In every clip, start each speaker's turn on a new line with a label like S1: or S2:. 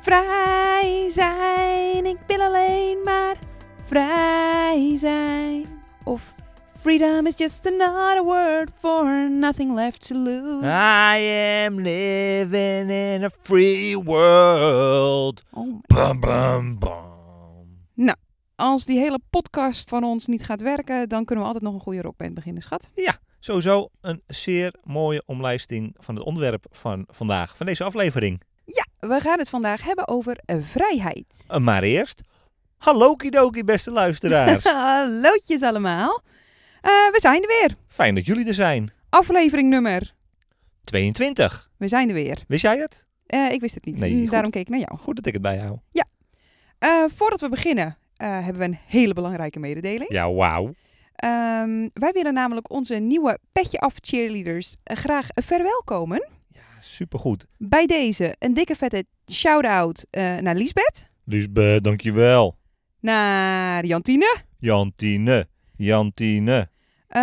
S1: Vrij zijn, ik wil alleen maar vrij zijn. Of freedom is just another word for nothing left to lose.
S2: I am living in a free world.
S1: Oh,
S2: Bam, bam, bam.
S1: als die hele podcast van ons niet gaat werken, dan kunnen we altijd nog een goede rockband beginnen, schat.
S2: Sowieso een zeer mooie omlijsting van het onderwerp van vandaag, van deze aflevering.
S1: We gaan het vandaag hebben over eh, vrijheid.
S2: Eh, Maar eerst, hallo kidoki beste luisteraars.
S1: Hallootjes allemaal. Eh, we zijn er weer.
S2: Fijn dat jullie er zijn.
S1: Aflevering nummer.
S2: 22,
S1: We zijn er weer.
S2: wist jij het?
S1: Eh, ik wist het niet,
S2: Nee,
S1: Mm,
S2: goed.
S1: daarom keek ik naar jou.
S2: Goed dat ik het bijhoud.
S1: Eh, voordat we beginnen, eh, hebben we een hele belangrijke mededeling.
S2: Ja, wauw.
S1: Ehm, wij willen namelijk onze nieuwe Petje Af cheerleaders eh, graag verwelkomen.
S2: Ja, supergoed.
S1: Bij deze een dikke vette shout-out eh, naar Liesbeth,
S2: Lisbeth, dankjewel.
S1: naar Jantine,
S2: Jantine, Jantine.
S1: Eh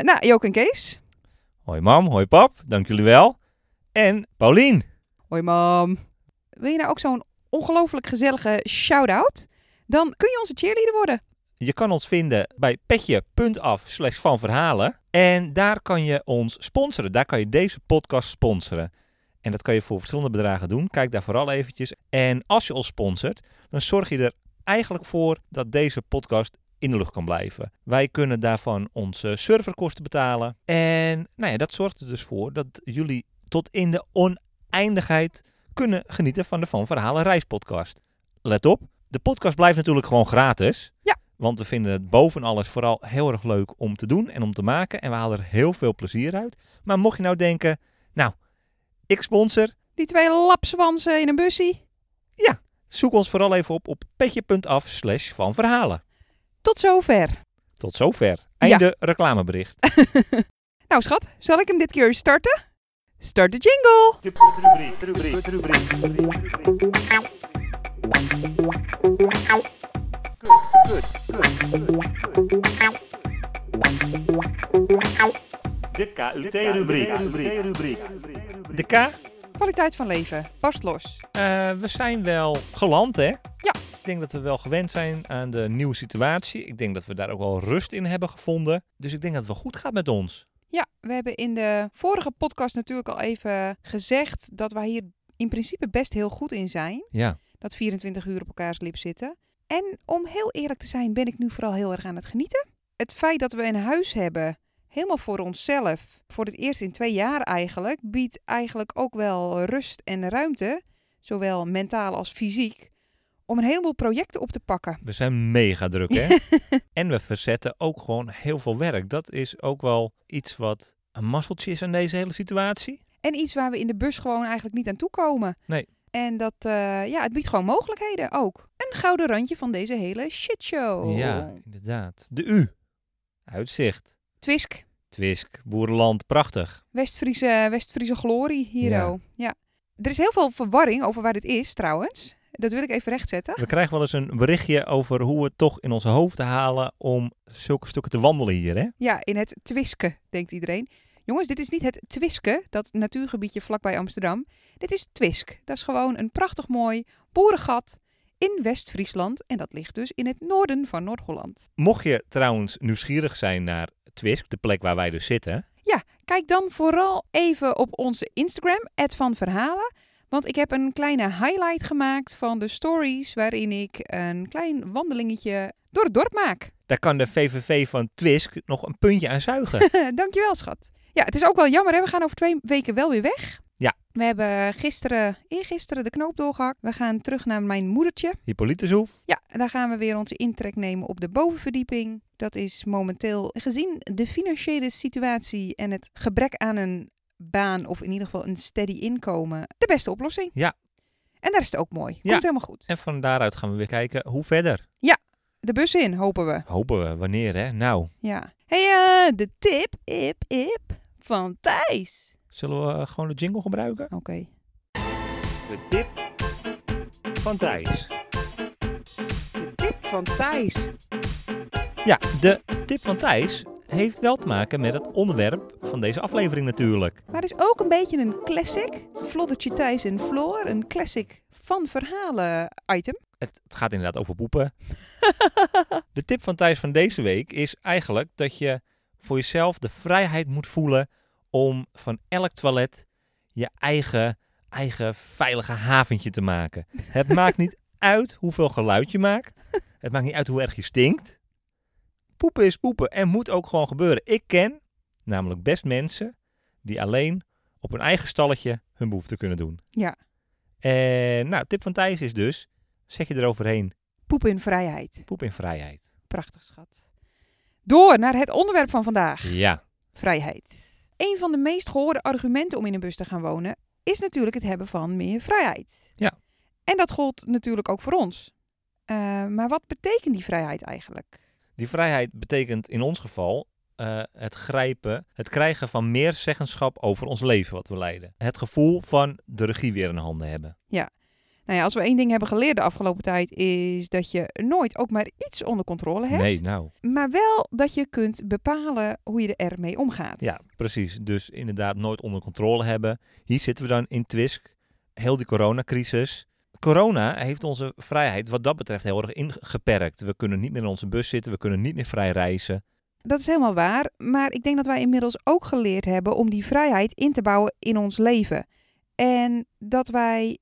S1: nou, Jook en Kees.
S2: Hoi mam, hoi pap, dank jullie wel. En Paulien.
S1: Hoi mam. Wil je nou ook zo'n ongelooflijk gezellige shout-out? Dan kun je onze cheerleader worden.
S2: Je kan ons vinden bij petje.af slash van verhalen. En daar kan je ons sponsoren. Daar kan je deze podcast sponsoren. En dat kan je voor verschillende bedragen doen. Kijk daar vooral eventjes. En als je ons sponsort, dan zorg je er eigenlijk voor dat deze podcast in de lucht kan blijven. Wij kunnen daarvan onze serverkosten betalen. En nou ja, dat zorgt er dus voor dat jullie tot in de oneindigheid kunnen genieten van de Van Verhalen reispodcast. Let op, de podcast blijft natuurlijk gewoon gratis. Want we vinden het boven alles vooral heel erg leuk om te doen en om te maken. En we halen er heel veel plezier uit. Maar mocht je nou denken, nou, ik sponsor,
S1: Die twee lapswansen in een bussie.
S2: zoek ons vooral even op op petje.af slash van verhalen.
S1: Tot zover.
S2: Tot zover. Einde reclamebericht.
S1: nou schat, zal ik hem dit keer starten? Start de jingle.
S3: De KUT-rubriek.
S2: De K,
S1: Kwaliteit van leven. Barst los.
S2: eh, we zijn wel geland hè?
S1: Ja.
S2: Ik denk dat we wel gewend zijn aan de nieuwe situatie. Ik denk dat we daar ook wel rust in hebben gevonden. Dus ik denk dat het wel goed gaat met ons.
S1: Ja, we hebben in de vorige podcast natuurlijk al even gezegd dat wij hier in principe best heel goed in zijn.
S2: Ja.
S1: Dat 24 uur op elkaars lip zitten. En om heel eerlijk te zijn ben ik nu vooral heel erg aan het genieten. Het feit dat we een huis hebben, helemaal voor onszelf, voor het eerst in twee jaar eigenlijk, biedt eigenlijk ook wel rust en ruimte, zowel mentaal als fysiek, om een heleboel projecten op te pakken.
S2: We zijn mega druk, hè? en we verzetten ook gewoon heel veel werk. Dat is ook wel iets wat een mazzeltje is aan deze hele situatie.
S1: En iets waar we in de bus gewoon eigenlijk niet aan toe komen.
S2: Nee.
S1: En dat, eh, ja, het biedt gewoon mogelijkheden ook. Een gouden randje van deze hele shitshow.
S2: Ja, inderdaad. De U. Uitzicht.
S1: Twisk,
S2: Twisk, boerenland, prachtig.
S1: West-Friese, West-Friese glorie hier.
S2: Ja.
S1: oh. Ja. Er is heel veel verwarring over waar dit is trouwens. Dat wil ik even rechtzetten.
S2: We krijgen wel eens een berichtje over hoe we het toch in onze hoofden halen om zulke stukken te wandelen hier, hè?
S1: Ja, in het Twiske, denkt iedereen. Jongens, dit is niet het Twiske, dat natuurgebiedje vlakbij Amsterdam. Dit is Twisk. Dat is gewoon een prachtig mooi boerengat in West-Friesland. En dat ligt dus in het noorden van Noord-Holland.
S2: Mocht je trouwens nieuwsgierig zijn naar Twisk, de plek waar wij dus zitten,
S1: Kijk dan vooral even op onze Instagram, van Verhalen. Want ik heb een kleine highlight gemaakt van de stories waarin ik een klein wandelingetje door het dorp maak.
S2: daar kan de VVV van Twisk nog een puntje aan zuigen.
S1: Dankjewel, schat. Ja, het is ook wel jammer, hè? We gaan over twee weken wel weer weg.
S2: Ja.
S1: We hebben gisteren, eergisteren de knoop doorgehakt. We gaan terug naar mijn moedertje.
S2: Hippolytushoef,
S1: Ja, en daar gaan we weer onze intrek nemen op de bovenverdieping. Dat is momenteel, gezien de financiële situatie en het gebrek aan een baan of in ieder geval een steady inkomen de beste oplossing.
S2: Ja.
S1: En daar is het ook mooi. Komt
S2: Ja.
S1: helemaal goed.
S2: En van daaruit gaan we weer kijken hoe verder.
S1: De bus in, hopen we.
S2: Hopen we. Wanneer, hè? Nou,
S1: Ja. hey, eh, de tip, ip, ip van Thijs.
S2: zullen we gewoon de jingle gebruiken?
S1: Oké.
S3: De tip van Thijs.
S1: De tip van Thijs.
S2: Ja, de tip van Thijs heeft wel te maken met het onderwerp van deze aflevering natuurlijk.
S1: Maar het is ook een beetje een classic. Floddertje Thijs en Floor. Een classic van verhalen item.
S2: Het, het gaat inderdaad over poepen. De tip van Thijs van deze week is eigenlijk dat je voor jezelf de vrijheid moet voelen om van elk toilet je eigen, eigen veilige haventje te maken. Het maakt niet uit hoeveel geluid je maakt. Het maakt niet uit hoe erg je stinkt. Poepen is poepen en moet ook gewoon gebeuren. Ik ken namelijk best mensen die alleen op hun eigen stalletje hun behoefte kunnen doen.
S1: Ja.
S2: En nou, tip van Thijs is dus, zet je eroverheen,
S1: Poep in vrijheid.
S2: poep in vrijheid.
S1: Prachtig, schat. Door naar het onderwerp van vandaag.
S2: Ja.
S1: Vrijheid. Een van de meest gehoorde argumenten om in een bus te gaan wonen is natuurlijk het hebben van meer vrijheid.
S2: Ja.
S1: En dat gold natuurlijk ook voor ons. Eh, maar wat betekent die vrijheid eigenlijk?
S2: Die vrijheid betekent in ons geval eh, het grijpen, het krijgen van meer zeggenschap over ons leven wat we leiden. Het gevoel van de regie weer in handen hebben.
S1: Nou ja, als we één ding hebben geleerd de afgelopen tijd is dat je nooit ook maar iets onder controle hebt.
S2: Nee, nou.
S1: Maar wel dat je kunt bepalen hoe je er mee omgaat.
S2: Ja, precies. Dus inderdaad nooit onder controle hebben. Hier zitten we dan in Twisk. Heel die coronacrisis. Corona heeft onze vrijheid wat dat betreft heel erg ingeperkt. We kunnen niet meer in onze bus zitten. We kunnen niet meer vrij reizen.
S1: Dat is helemaal waar, maar ik denk dat wij inmiddels ook geleerd hebben om die vrijheid in te bouwen in ons leven. En dat wij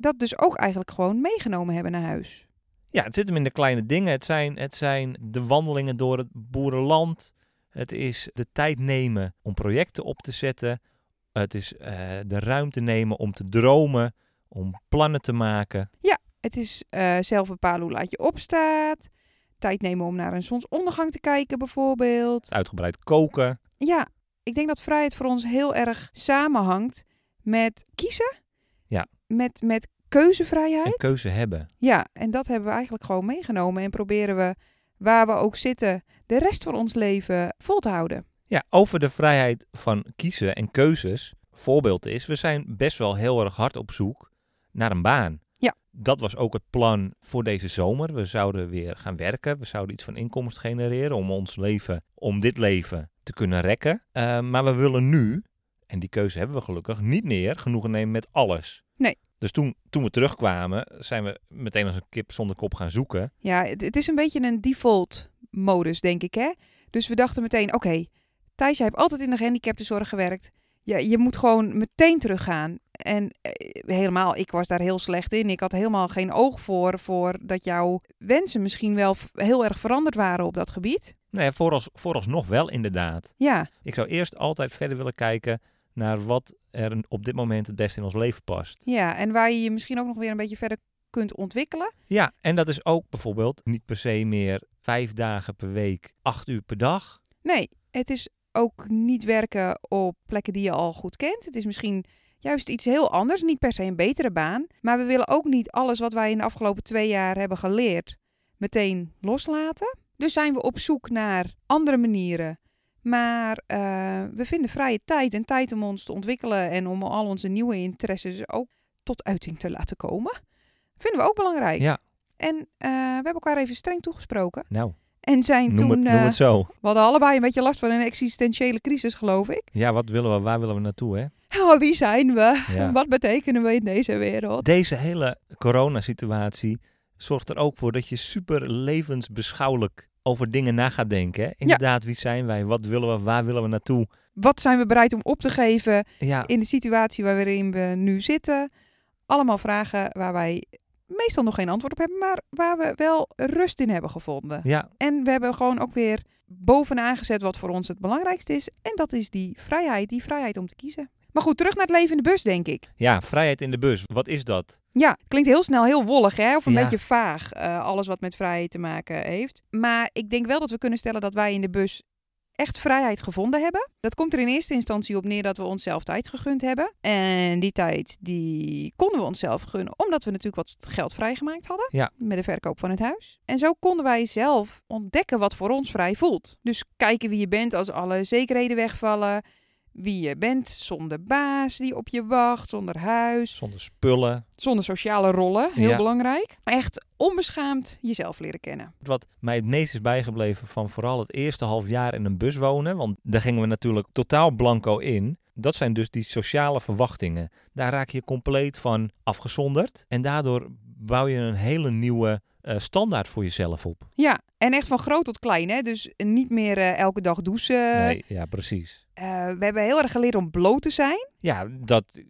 S1: dat dus ook eigenlijk gewoon meegenomen hebben naar huis.
S2: Ja, het zit hem in de kleine dingen. Het zijn, het zijn de wandelingen door het boerenland. Het is de tijd nemen om projecten op te zetten. Het is eh, de ruimte nemen om te dromen, om plannen te maken.
S1: Het is eh, zelf bepalen hoe laat je opstaat. Tijd nemen om naar een zonsondergang te kijken bijvoorbeeld.
S2: Het uitgebreid koken.
S1: Ja, ik denk dat vrijheid voor ons heel erg samenhangt met kiezen.
S2: Ja.
S1: Met, met keuzevrijheid.
S2: En keuze hebben.
S1: Ja, en dat hebben we eigenlijk gewoon meegenomen en proberen we waar we ook zitten de rest van ons leven vol te houden.
S2: Ja, over de vrijheid van kiezen en keuzes. Voorbeeld is, we zijn best wel heel erg hard op zoek naar een baan.
S1: Ja.
S2: Dat was ook het plan voor deze zomer. We zouden weer gaan werken. We zouden iets van inkomsten genereren om ons leven, om dit leven te kunnen rekken. Eh, maar we willen nu, en die keuze hebben we gelukkig, niet meer genoegen nemen met alles.
S1: Nee.
S2: Dus toen, toen we terugkwamen, zijn we meteen als een kip zonder kop gaan zoeken.
S1: Ja, het, het is een beetje een default modus, denk ik. Hè? Dus we dachten meteen, oké, Thijs, jij hebt altijd in de gehandicaptenzorg gewerkt. Je, je moet gewoon meteen teruggaan. En eh, helemaal, ik was daar heel slecht in. Ik had helemaal geen oog voor, voor dat jouw wensen misschien wel v- heel erg veranderd waren op dat gebied.
S2: Nee, Nou voorals, vooralsnog wel inderdaad.
S1: Ja,
S2: Ik zou eerst altijd verder willen kijken naar wat er op dit moment het beste in ons leven past.
S1: ja, en waar je je misschien ook nog weer een beetje verder kunt ontwikkelen.
S2: Ja, en dat is ook bijvoorbeeld niet per se meer vijf dagen per week, acht uur per dag.
S1: Nee, het is ook niet werken op plekken die je al goed kent. Het is misschien juist iets heel anders, niet per se een betere baan. Maar we willen ook niet alles wat wij in de afgelopen twee jaar hebben geleerd meteen loslaten. Dus zijn we op zoek naar andere manieren. Maar eh, we vinden vrije tijd en tijd om ons te ontwikkelen en om al onze nieuwe interesses ook tot uiting te laten komen. Vinden we ook belangrijk.
S2: Ja.
S1: En eh, we hebben elkaar even streng toegesproken.
S2: Nou,
S1: En zijn
S2: noem
S1: toen.
S2: het,
S1: eh,
S2: noem het zo.
S1: we hadden allebei een beetje last van een existentiële crisis, geloof ik.
S2: Ja, wat willen we, waar willen we naartoe, hè?
S1: Oh, wie zijn we?
S2: Ja.
S1: Wat betekenen we in deze wereld?
S2: Deze hele coronasituatie zorgt er ook voor dat je super levensbeschouwelijk over dingen na gaat denken. Hè? Inderdaad, wie zijn wij? Wat willen we? Waar willen we naartoe?
S1: Wat zijn we bereid om op te geven
S2: Ja,
S1: in de situatie waarin we nu zitten? Allemaal vragen waar wij meestal nog geen antwoord op hebben, maar waar we wel rust in hebben gevonden.
S2: ja,
S1: En we hebben gewoon ook weer bovenaan gezet wat voor ons het belangrijkste is. En dat is die vrijheid, die vrijheid om te kiezen. Maar goed, terug naar het leven in de bus, denk ik.
S2: ja, vrijheid in de bus. Wat is dat?
S1: Ja, het klinkt heel snel heel wollig, hè? Of een
S2: Ja.
S1: beetje vaag, eh, alles wat met vrijheid te maken heeft. Maar ik denk wel dat we kunnen stellen dat wij in de bus echt vrijheid gevonden hebben. Dat komt er in eerste instantie op neer dat we onszelf tijd gegund hebben. En die tijd die konden we onszelf gunnen, omdat we natuurlijk wat geld vrijgemaakt hadden
S2: Ja.
S1: met de verkoop van het huis. En zo konden wij zelf ontdekken wat voor ons vrij voelt. Dus kijken wie je bent als alle zekerheden wegvallen. Wie je bent zonder baas die op je wacht, zonder huis,
S2: Zonder spullen.
S1: zonder sociale rollen, heel
S2: Ja.
S1: belangrijk. Maar echt onbeschaamd jezelf leren kennen.
S2: Wat mij het meest is bijgebleven van vooral het eerste half jaar in een bus wonen, want daar gingen we natuurlijk totaal blanco in. Dat zijn dus die sociale verwachtingen. Daar raak je compleet van afgezonderd en daardoor bouw je een hele nieuwe eh, standaard voor jezelf op.
S1: Ja, en echt van groot tot klein, hè? Dus niet meer eh, elke dag douchen.
S2: nee, ja, precies.
S1: Eh, we hebben heel erg geleerd om bloot te zijn.
S2: Ja, dat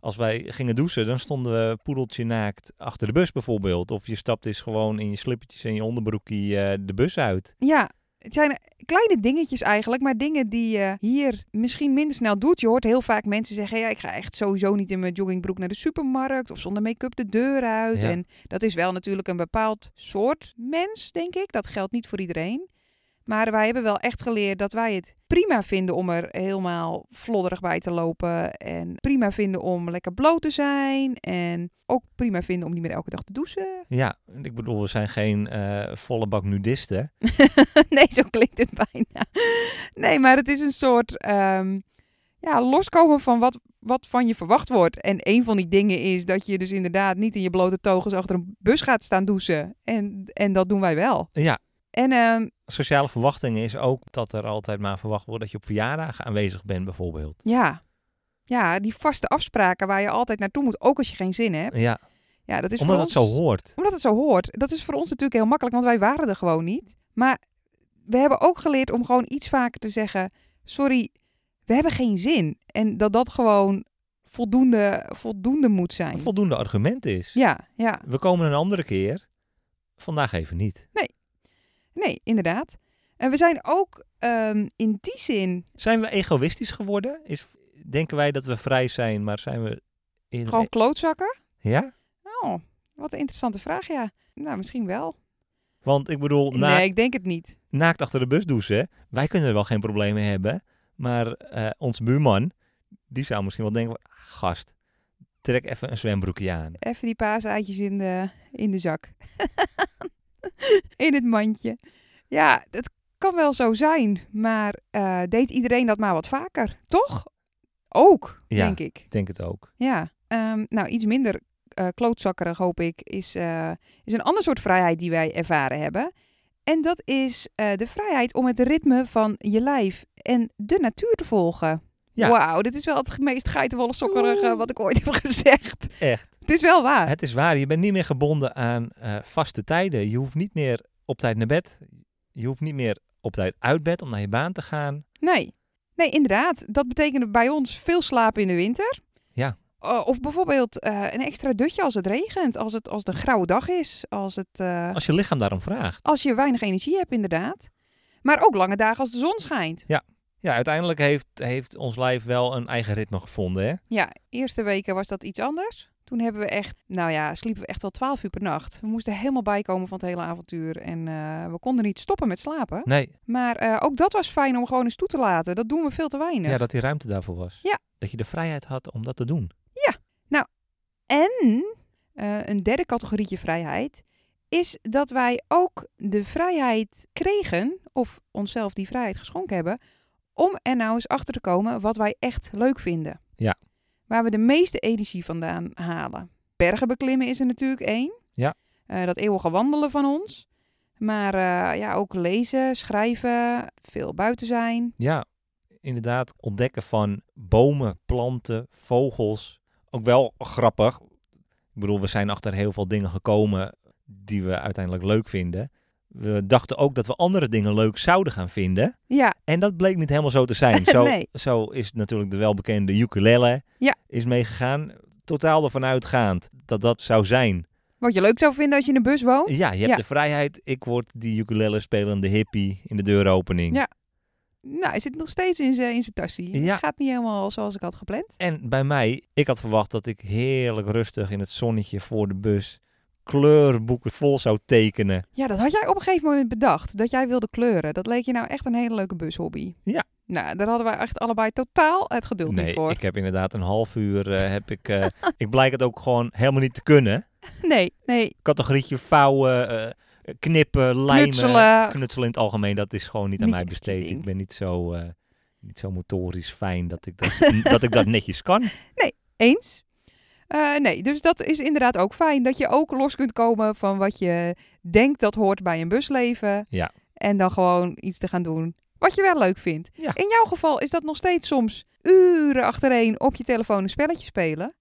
S2: als wij gingen douchen, dan stonden we poedeltje naakt achter de bus bijvoorbeeld. Of je stapt eens gewoon in je slippertjes en je onderbroekje eh, de bus uit.
S1: Ja, het zijn kleine dingetjes eigenlijk, maar dingen die je hier misschien minder snel doet. Je hoort heel vaak mensen zeggen, ja, ik ga echt sowieso niet in mijn joggingbroek naar de supermarkt of zonder make-up de deur uit.
S2: Ja.
S1: En dat is wel natuurlijk een bepaald soort mens, denk ik. Dat geldt niet voor iedereen. Maar wij hebben wel echt geleerd dat wij het prima vinden om er helemaal flodderig bij te lopen. En prima vinden om lekker bloot te zijn. En ook prima vinden om niet meer elke dag te douchen.
S2: Ja, ik bedoel, we zijn geen eh, volle bak nudisten.
S1: nee, zo klinkt het bijna. Nee, maar het is een soort ehm, ja, loskomen van wat, wat van je verwacht wordt. En een van die dingen is dat je dus inderdaad niet in je blote togens achter een bus gaat staan douchen. En, en dat doen wij wel.
S2: Ja.
S1: En ehm,
S2: sociale verwachtingen is ook dat er altijd maar verwacht wordt dat je op verjaardagen aanwezig bent, bijvoorbeeld.
S1: ja. ja, die vaste afspraken waar je altijd naartoe moet, ook als je geen zin hebt.
S2: Ja,
S1: Ja, dat is
S2: omdat
S1: voor
S2: het
S1: ons...
S2: zo hoort.
S1: Omdat het zo hoort. Dat is voor ons natuurlijk heel makkelijk, want wij waren er gewoon niet. Maar we hebben ook geleerd om gewoon iets vaker te zeggen: Sorry, we hebben geen zin. En dat dat gewoon voldoende, voldoende moet zijn.
S2: Een voldoende argument is.
S1: ja, ja.
S2: We komen een andere keer. Vandaag even niet.
S1: Nee, inderdaad. En we zijn ook ehm, in die zin
S2: Zijn we egoïstisch geworden? Is, denken wij dat we vrij zijn, maar zijn we... eerder-
S1: gewoon klootzakken.
S2: Ja?
S1: Oh, wat een interessante vraag, ja. Nou, misschien wel.
S2: Want ik bedoel, na,
S1: Nee, ik denk het niet.
S2: naakt achter de bus douchen, wij kunnen er wel geen problemen mee hebben. Maar eh ons buurman, die zou misschien wel denken, van, "Ah, gast, trek even een zwembroekje aan.
S1: Even die paaseitjes in de, in de zak. in het mandje. Ja, dat kan wel zo zijn. Maar eh, deed iedereen dat maar wat vaker? Toch? Ook,
S2: Ja.
S1: denk ik.
S2: Ik denk het ook.
S1: Ja. Ehm, nou, iets minder eh, klootzakkerig, hoop ik, is, eh, is een ander soort vrijheid die wij ervaren hebben. En dat is eh, de vrijheid om het ritme van je lijf en de natuur te volgen.
S2: Ja.
S1: Wauw, dit is wel het meest geitenwolle sokkerige wat ik ooit heb gezegd.
S2: Echt.
S1: Het is wel waar.
S2: Het is waar, je bent niet meer gebonden aan eh, vaste tijden. Je hoeft niet meer op tijd naar bed. Je hoeft niet meer op tijd uit bed om naar je baan te gaan.
S1: Nee. Nee, inderdaad. Dat betekende bij ons veel slapen in de winter.
S2: Ja.
S1: O- of bijvoorbeeld eh, een extra dutje als het regent, als het, als het een grauwe dag is, als, het, eh,
S2: Als je lichaam daarom vraagt.
S1: als je weinig energie hebt inderdaad. Maar ook lange dagen als de zon schijnt.
S2: Ja, uiteindelijk heeft, heeft ons lijf wel een eigen ritme gevonden. Hè?
S1: Ja, eerste weken was dat iets anders. Toen hebben we echt, nou ja, sliepen we echt wel twaalf uur per nacht. We moesten helemaal bijkomen van het hele avontuur en eh, we konden niet stoppen met slapen.
S2: Nee,
S1: Maar eh, ook dat was fijn om gewoon eens toe te laten. Dat doen we veel te weinig.
S2: ja, dat die ruimte daarvoor was.
S1: Ja.
S2: Dat je de vrijheid had om dat te doen.
S1: En eh, een derde categorietje vrijheid is dat wij ook de vrijheid kregen, of onszelf die vrijheid geschonken hebben, om er nou eens achter te komen wat wij echt leuk vinden.
S2: Ja.
S1: Waar we de meeste energie vandaan halen. Bergen beklimmen is er natuurlijk één.
S2: Ja.
S1: Eh, dat eeuwige wandelen van ons. Maar eh, ja, ook lezen, schrijven, veel buiten zijn.
S2: Ja, inderdaad. Ontdekken van bomen, planten, vogels. Ook wel grappig. Ik bedoel, we zijn achter heel veel dingen gekomen die we uiteindelijk leuk vinden. We dachten ook dat we andere dingen leuk zouden gaan vinden.
S1: Ja,
S2: En dat bleek niet helemaal zo te zijn. Zo,
S1: Nee.
S2: zo is natuurlijk de welbekende ukulele
S1: Ja.
S2: is meegegaan. Totaal ervan uitgaand dat dat zou zijn.
S1: wat je leuk zou vinden als je in een bus woont.
S2: Ja, je hebt
S1: Ja.
S2: de vrijheid. Ik word die ukulele spelende hippie in de deuropening.
S1: Ja. Nou, hij zit nog steeds in zijn in zijn tassie.
S2: Ja.
S1: Het gaat niet helemaal zoals ik had gepland.
S2: En bij mij, ik had verwacht dat ik heerlijk rustig in het zonnetje voor de bus kleurboeken vol zou tekenen.
S1: Ja, dat had jij op een gegeven moment bedacht. Dat jij wilde kleuren. Dat leek je nou echt een hele leuke bushobby.
S2: Ja.
S1: Nou, daar hadden wij echt allebei totaal het geduld
S2: nee,
S1: niet voor.
S2: ik heb inderdaad een half uur, eh, heb ik, eh, ik blijk het ook gewoon helemaal niet te kunnen.
S1: Nee, nee.
S2: Categorietje vouwen, eh, knippen, lijmen.
S1: Knutselen.
S2: Knutselen in het algemeen, dat is gewoon niet aan
S1: Niet
S2: mij
S1: echt je
S2: besteed.
S1: ding.
S2: Ik ben niet zo, eh, niet zo motorisch fijn dat ik dat, dat ik dat netjes kan.
S1: Eens? Eh, nee, dus dat is inderdaad ook fijn. Dat je ook los kunt komen van wat je denkt dat hoort bij een busleven.
S2: Ja.
S1: En dan gewoon iets te gaan doen wat je wel leuk vindt.
S2: Ja.
S1: In jouw geval is dat nog steeds soms uren achtereen op je telefoon een spelletje spelen.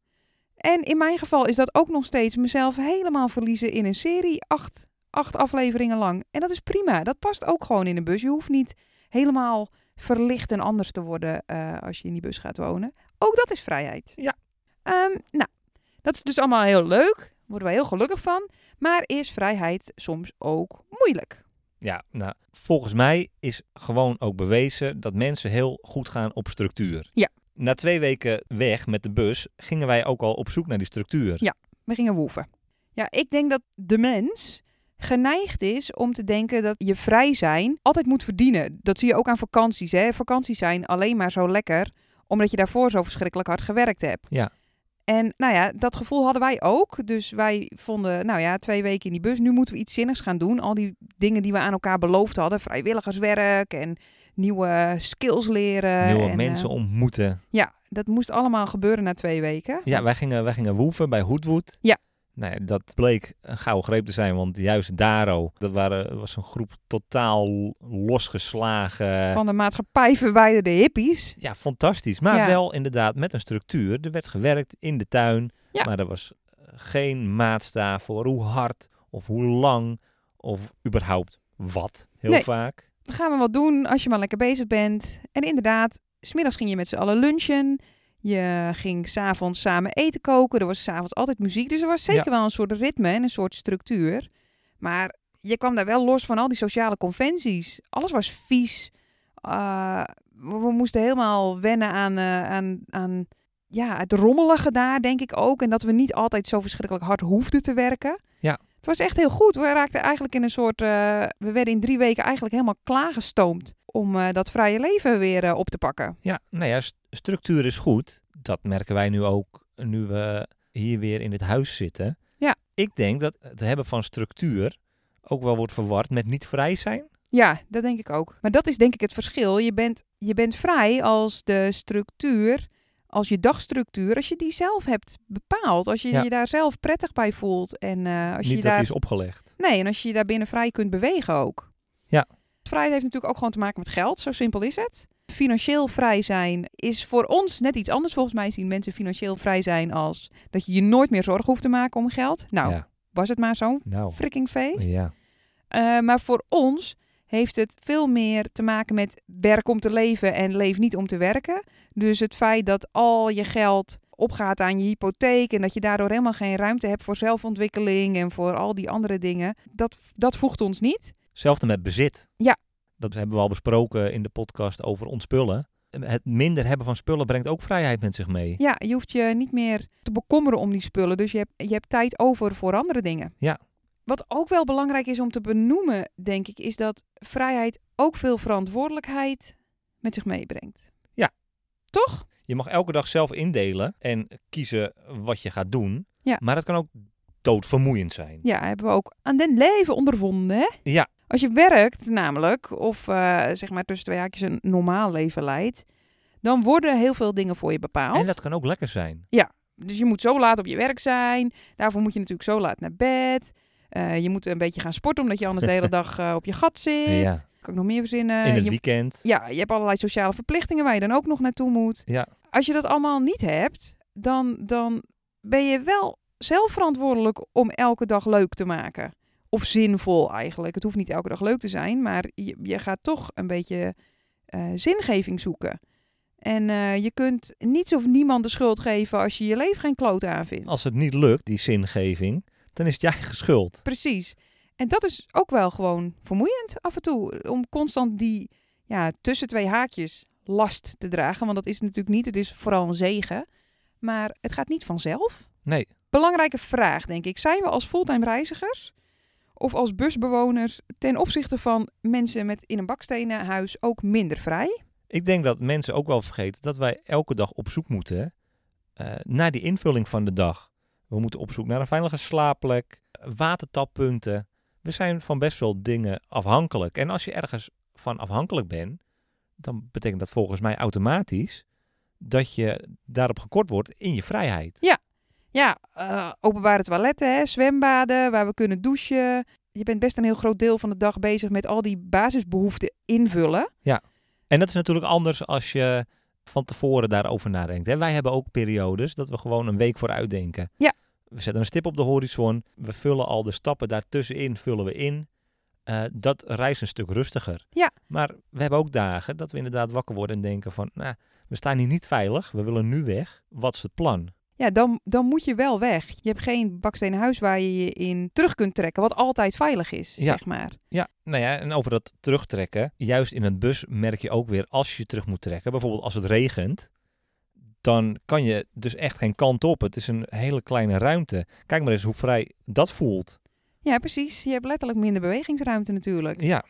S1: En in mijn geval is dat ook nog steeds mezelf helemaal verliezen in een serie. Acht, acht afleveringen lang. En dat is prima. Dat past ook gewoon in een bus. Je hoeft niet helemaal verlicht en anders te worden eh, als je in die bus gaat wonen. Ook dat is vrijheid.
S2: Ja.
S1: Ehm, nou, dat is dus allemaal heel leuk. Worden wij heel gelukkig van. Maar is vrijheid soms ook moeilijk?
S2: Ja, nou, volgens mij is gewoon ook bewezen dat mensen heel goed gaan op structuur.
S1: Ja.
S2: Na twee weken weg met de bus gingen wij ook al op zoek naar die structuur.
S1: Ja. We gingen woeven. Ja, ik denk dat de mens geneigd is om te denken dat je vrij zijn altijd moet verdienen. Dat zie je ook aan vakanties. Hè? Vakanties zijn alleen maar zo lekker omdat je daarvoor zo verschrikkelijk hard gewerkt hebt.
S2: Ja.
S1: En nou ja, dat gevoel hadden wij ook. Dus wij vonden, nou ja, twee weken in die bus. Nu moeten we iets zinnigs gaan doen. Al die dingen die we aan elkaar beloofd hadden. Vrijwilligerswerk en nieuwe skills leren.
S2: Nieuwe
S1: en,
S2: mensen ontmoeten.
S1: eh, ja, dat moest allemaal gebeuren na twee weken.
S2: Ja, wij gingen, wij gingen woeven bij Hoedwood.
S1: Ja.
S2: Nou ja, dat bleek een gouden greep te zijn, want juist Daro, dat waren, was een groep totaal losgeslagen.
S1: Van de maatschappij verwijderde hippies.
S2: Ja, fantastisch. Maar
S1: Ja.
S2: wel inderdaad met een structuur. Er werd gewerkt in de tuin.
S1: Ja.
S2: Maar er was eh, geen maatstaf voor hoe hard of hoe lang of überhaupt wat. Heel
S1: Nee.
S2: vaak.
S1: Dan gaan we wat doen als je maar lekker bezig bent. En inderdaad, smiddags ging je met z'n allen lunchen. Je ging s'avonds samen eten koken. Er was s'avonds altijd muziek. Dus er was zeker wel een soort ritme en een soort structuur. Maar je kwam daar wel los van al die sociale conventies. Alles was vies. Uh, we, we moesten helemaal wennen aan, eh, aan, aan ja, het rommelige daar, denk ik ook. En dat we niet altijd zo verschrikkelijk hard hoefden te werken.
S2: Ja.
S1: Het was echt heel goed. We raakten eigenlijk in een soort... eh, we werden in drie weken eigenlijk helemaal klaargestoomd... om eh, dat vrije leven weer eh, op te pakken.
S2: Ja, nou ja, st- structuur is goed. Dat merken wij nu ook nu we hier weer in het huis zitten.
S1: Ja.
S2: Ik denk dat het hebben van structuur ook wel wordt verward met niet vrij zijn.
S1: Ja, dat denk ik ook. Maar dat is denk ik het verschil. Je bent, je bent vrij als de structuur, als je dagstructuur... als je die zelf hebt bepaald. Als je
S2: Ja.
S1: je daar zelf prettig bij voelt. En eh, als
S2: niet
S1: je
S2: dat
S1: daar...
S2: die is opgelegd.
S1: Nee, en als je je daar binnen vrij kunt bewegen ook.
S2: Ja.
S1: Vrijheid heeft natuurlijk ook gewoon te maken met geld, zo simpel is het. Financieel vrij zijn is voor ons net iets anders. Volgens mij zien mensen financieel vrij zijn als dat je je nooit meer zorgen hoeft te maken om geld. Nou,
S2: Ja,
S1: was het maar zo'n
S2: nou.
S1: freaking feest.
S2: Ja.
S1: Eh, maar voor ons heeft het veel meer te maken met werk om te leven en leef niet om te werken. Dus het feit dat al je geld opgaat aan je hypotheek en dat je daardoor helemaal geen ruimte hebt voor zelfontwikkeling en voor al die andere dingen, dat, dat voegt ons niet.
S2: Hetzelfde met bezit.
S1: Ja.
S2: Dat hebben we al besproken in de podcast over ontspullen. Het minder hebben van spullen brengt ook vrijheid met zich mee.
S1: Ja, je hoeft je niet meer te bekommeren om die spullen, dus je hebt, je hebt tijd over voor andere dingen.
S2: Ja.
S1: Wat ook wel belangrijk is om te benoemen, denk ik, is dat vrijheid ook veel verantwoordelijkheid met zich meebrengt.
S2: Ja.
S1: Toch?
S2: Je mag elke dag zelf indelen en kiezen wat je gaat doen.
S1: Ja.
S2: Maar dat kan ook doodvermoeiend zijn.
S1: Ja, hebben we ook aan den leven ondervonden. Hè?
S2: Ja.
S1: Als je werkt namelijk, of eh, zeg maar tussen twee haakjes een normaal leven leidt, dan worden heel veel dingen voor je bepaald.
S2: En dat kan ook lekker zijn.
S1: Dus je moet zo laat op je werk zijn. Daarvoor moet je natuurlijk zo laat naar bed. Eh, je moet een beetje gaan sporten, omdat je anders de hele dag eh, op je gat zit.
S2: ja.
S1: Kan ik nog meer verzinnen?
S2: In het
S1: eh, je,
S2: weekend.
S1: ja, je hebt allerlei sociale verplichtingen waar je dan ook nog naartoe moet.
S2: Ja.
S1: Als je dat allemaal niet hebt, dan, dan ben je wel zelf verantwoordelijk om elke dag leuk te maken. Of zinvol eigenlijk. Het hoeft niet elke dag leuk te zijn, maar je, je gaat toch een beetje eh, zingeving zoeken. En eh, je kunt niets of niemand de schuld geven als je je leven geen kloot aanvindt.
S2: Als het niet lukt, die zingeving, dan is het je eigen schuld.
S1: Precies. En dat is ook wel gewoon vermoeiend af en toe. Om constant die ja, tussen twee haakjes last te dragen. Want dat is natuurlijk niet. Het is vooral een zegen. Maar het gaat niet vanzelf.
S2: Nee.
S1: belangrijke vraag, denk ik. Zijn we als fulltime reizigers of als busbewoners ten opzichte van mensen met in een bakstenen huis ook minder vrij?
S2: Ik denk dat mensen ook wel vergeten dat wij elke dag op zoek moeten eh, naar die invulling van de dag. We moeten op zoek naar een veilige slaapplek, watertappunten. We zijn van best wel dingen afhankelijk. En als je ergens van afhankelijk bent, dan betekent dat volgens mij automatisch dat je daarop gekort wordt in je vrijheid.
S1: Ja, eh, openbare toiletten, hè, zwembaden waar we kunnen douchen. Je bent best een heel groot deel van de dag bezig met al die basisbehoeften invullen.
S2: En dat is natuurlijk anders als je van tevoren daarover nadenkt. Hè? Wij hebben ook periodes dat we gewoon een week vooruit denken.
S1: Ja.
S2: We zetten een stip op de horizon. We vullen al de stappen daartussenin vullen we in. Eh, dat reist een stuk rustiger.
S1: Ja.
S2: Maar we hebben ook dagen dat we inderdaad wakker worden en denken van... Nou, we staan hier niet veilig. We willen nu weg. Wat is het plan?
S1: Ja, dan, dan moet je wel weg. Je hebt geen bakstenen huis waar je je in terug kunt trekken, wat altijd veilig is,
S2: Ja.
S1: zeg maar.
S2: Ja, nou ja, en over dat terugtrekken. Juist in een bus merk je ook weer als je terug moet trekken. Bijvoorbeeld als het regent. Dan kan je dus echt geen kant op. Het is een hele kleine ruimte. Kijk maar eens hoe vrij dat voelt.
S1: Ja, precies. Je hebt letterlijk minder bewegingsruimte natuurlijk.
S2: Ja,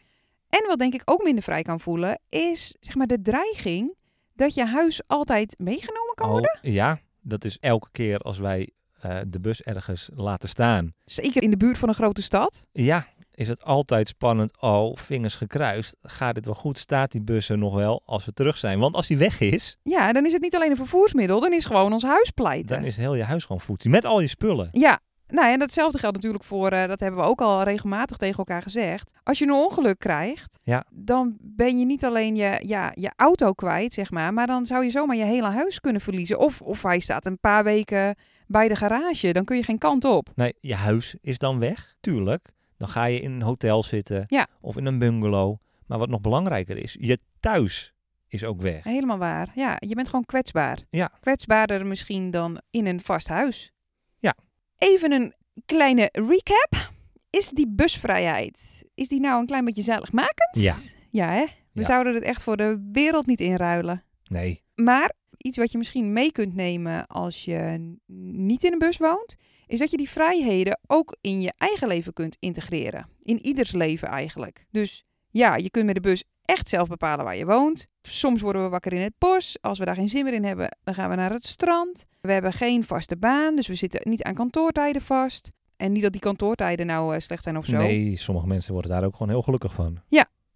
S1: En wat denk ik ook minder vrij kan voelen, is zeg maar de dreiging dat je huis altijd meegenomen kan worden.
S2: al- Oh, ja dat is elke keer als wij eh, de bus ergens laten staan.
S1: Zeker in de buurt van een grote stad.
S2: Ja, is het altijd spannend. Oh, vingers gekruist. Gaat dit wel goed? Staat die bus er nog wel als we terug zijn? Want als die weg is,
S1: Ja, dan is het niet alleen een vervoersmiddel, dan is gewoon ons huis pleiten.
S2: dan is heel je huis gewoon voetie. Met al je spullen.
S1: Ja, nou en datzelfde geldt natuurlijk voor, eh, dat hebben we ook al regelmatig tegen elkaar gezegd. Als je een ongeluk krijgt,
S2: Ja.
S1: dan ben je niet alleen je, ja, je auto kwijt, zeg maar, maar dan zou je zomaar je hele huis kunnen verliezen. Of, of hij staat een paar weken bij de garage, dan kun je geen kant op.
S2: Nee, je huis is dan weg, tuurlijk. Dan ga je in een hotel zitten
S1: Ja.
S2: of in een bungalow. Maar wat nog belangrijker is, je thuis is ook weg.
S1: Helemaal waar. Ja, je bent gewoon kwetsbaar.
S2: Ja.
S1: Kwetsbaarder misschien dan in een vast huis.
S2: Ja.
S1: Even een kleine recap. Is die busvrijheid, is die nou een klein beetje zaligmakend?
S2: Ja.
S1: Ja, hè? We
S2: Ja.
S1: zouden het echt voor de wereld niet inruilen.
S2: Nee,
S1: Maar iets wat je misschien mee kunt nemen als je n- niet in een bus woont, is dat je die vrijheden ook in je eigen leven kunt integreren. In ieders leven eigenlijk. Dus ja, je kunt met de bus echt zelf bepalen waar je woont. Soms worden we wakker in het bos. Als we daar geen zin meer in hebben, dan gaan we naar het strand. We hebben geen vaste baan, dus we zitten niet aan kantoortijden vast. En niet dat die kantoortijden nou eh, slecht zijn of zo.
S2: nee, sommige mensen worden daar ook gewoon heel gelukkig van.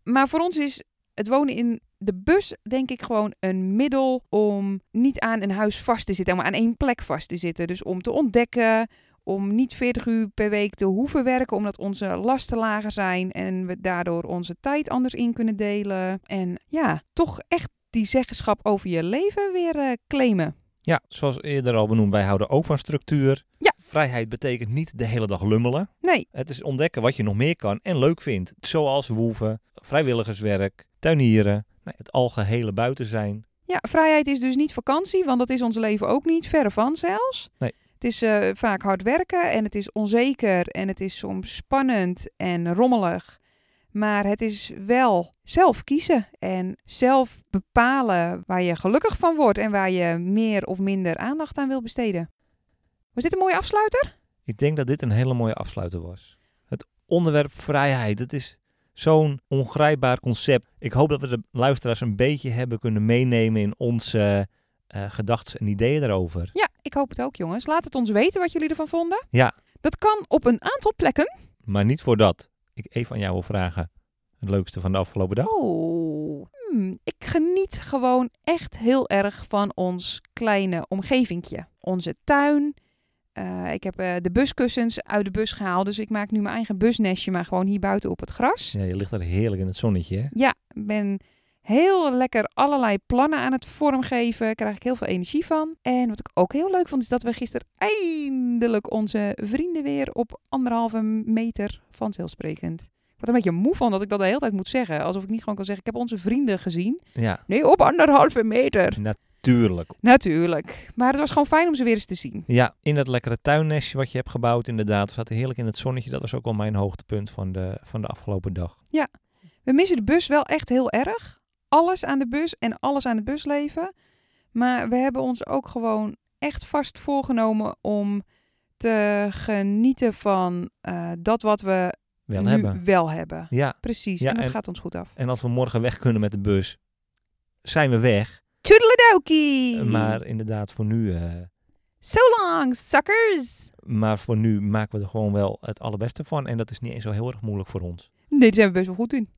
S1: Maar voor ons is het wonen in de bus, denk ik, gewoon een middel om niet aan een huis vast te zitten, maar aan één plek vast te zitten. Dus om te ontdekken, om niet 40 uur per week te hoeven werken, omdat onze lasten lager zijn en we daardoor onze tijd anders in kunnen delen. En ja, toch echt die zeggenschap over je leven weer eh, claimen.
S2: Ja, zoals eerder al benoemd, wij houden ook van structuur.
S1: Ja.
S2: Vrijheid betekent niet de hele dag lummelen.
S1: Nee,
S2: Het is ontdekken wat je nog meer kan en leuk vindt. Zoals woeven, vrijwilligerswerk, tuinieren, nou, het algehele buiten zijn.
S1: Ja, vrijheid is dus niet vakantie, want dat is ons leven ook niet, verre van zelfs.
S2: Nee.
S1: Het is eh, vaak hard werken en het is onzeker en het is soms spannend en rommelig. Maar het is wel zelf kiezen en zelf bepalen waar je gelukkig van wordt en waar je meer of minder aandacht aan wil besteden. Was dit een mooie afsluiter?
S2: Ik denk dat dit een hele mooie afsluiter was. Het onderwerp vrijheid, dat is zo'n ongrijpbaar concept. Ik hoop dat we de luisteraars een beetje hebben kunnen meenemen in onze eh, eh, gedachten en ideeën daarover.
S1: Ja, ik hoop het ook, jongens. Laat het ons weten wat jullie ervan vonden.
S2: Ja.
S1: Dat kan op een aantal plekken.
S2: Maar niet voor dat. Ik even aan jou wil vragen. Het leukste van de afgelopen dag.
S1: Oh. Hmm, ik geniet gewoon echt heel erg van ons kleine omgevingje. Onze tuin. Eh, ik heb eh, de buskussens uit de bus gehaald. Dus ik maak nu mijn eigen busnestje, maar gewoon hier buiten op het gras.
S2: Ja, je ligt daar heerlijk in het zonnetje. Hè?
S1: Ja, ik ben heel lekker allerlei plannen aan het vormgeven. Daar krijg ik heel veel energie van. En wat ik ook heel leuk vond, is dat we gisteren eindelijk onze vrienden weer op anderhalve meter vanzelfsprekend. Ik word er een beetje moe van dat ik dat de hele tijd moet zeggen. Alsof ik niet gewoon kan zeggen, ik heb onze vrienden gezien.
S2: Ja,
S1: Nee, op anderhalve meter.
S2: tuurlijk.
S1: Natuurlijk. Maar het was gewoon fijn om ze weer eens te zien.
S2: Ja, in dat lekkere tuinnestje wat je hebt gebouwd inderdaad. We zaten heerlijk in het zonnetje. Dat was ook wel mijn hoogtepunt van de, van de afgelopen dag.
S1: We missen de bus wel echt heel erg. Alles aan de bus en alles aan het busleven. Maar we hebben ons ook gewoon echt vast voorgenomen om te genieten van eh, dat wat we
S2: Wel
S1: nu
S2: hebben.
S1: wel hebben.
S2: Ja.
S1: Precies,
S2: Ja,
S1: en dat
S2: en-
S1: gaat ons goed af.
S2: En als we morgen weg kunnen met de bus, zijn we weg.
S1: Toedeledokie!
S2: Maar inderdaad, voor nu, eh,
S1: So long, suckers!
S2: maar voor nu maken we er gewoon wel het allerbeste van. En dat is niet eens zo heel erg moeilijk voor ons.
S1: Nee, dit zijn we best wel goed in.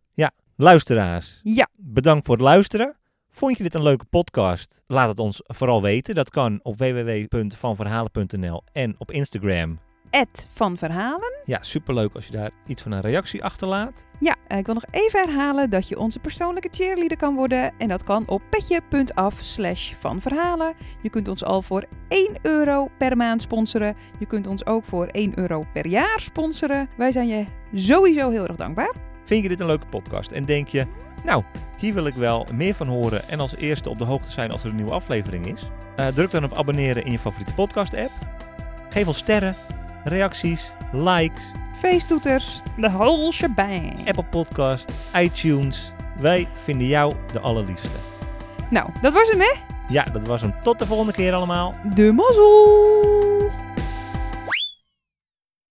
S2: Luisteraars,
S1: Ja,
S2: bedankt voor het luisteren. Vond je dit een leuke podcast? Laat het ons vooral weten. Dat kan op www.vanverhalen.nl en op Instagram.
S1: Ed van Verhalen.
S2: Ja, superleuk als je daar iets van een reactie achterlaat.
S1: Ja, eh, ik wil nog even herhalen dat je onze persoonlijke cheerleader kan worden. En dat kan op petje.af slash van verhalen. Je kunt ons al voor 1 euro per maand sponsoren. Je kunt ons ook voor 1 euro per jaar sponsoren. Wij zijn je sowieso heel erg dankbaar.
S2: Vind je dit een leuke podcast? En denk je, nou, hier wil ik wel meer van horen en als eerste op de hoogte zijn als er een nieuwe aflevering is? Eh, druk dan op abonneren in je favoriete podcast-app. Geef ons sterren, reacties, likes,
S1: Feesttoeters, de whole shebang.
S2: Apple Podcast, iTunes. Wij vinden jou de allerliefste.
S1: Nou, dat was hem hè.
S2: Ja, dat was hem. Tot de volgende keer allemaal.
S1: De mazzel!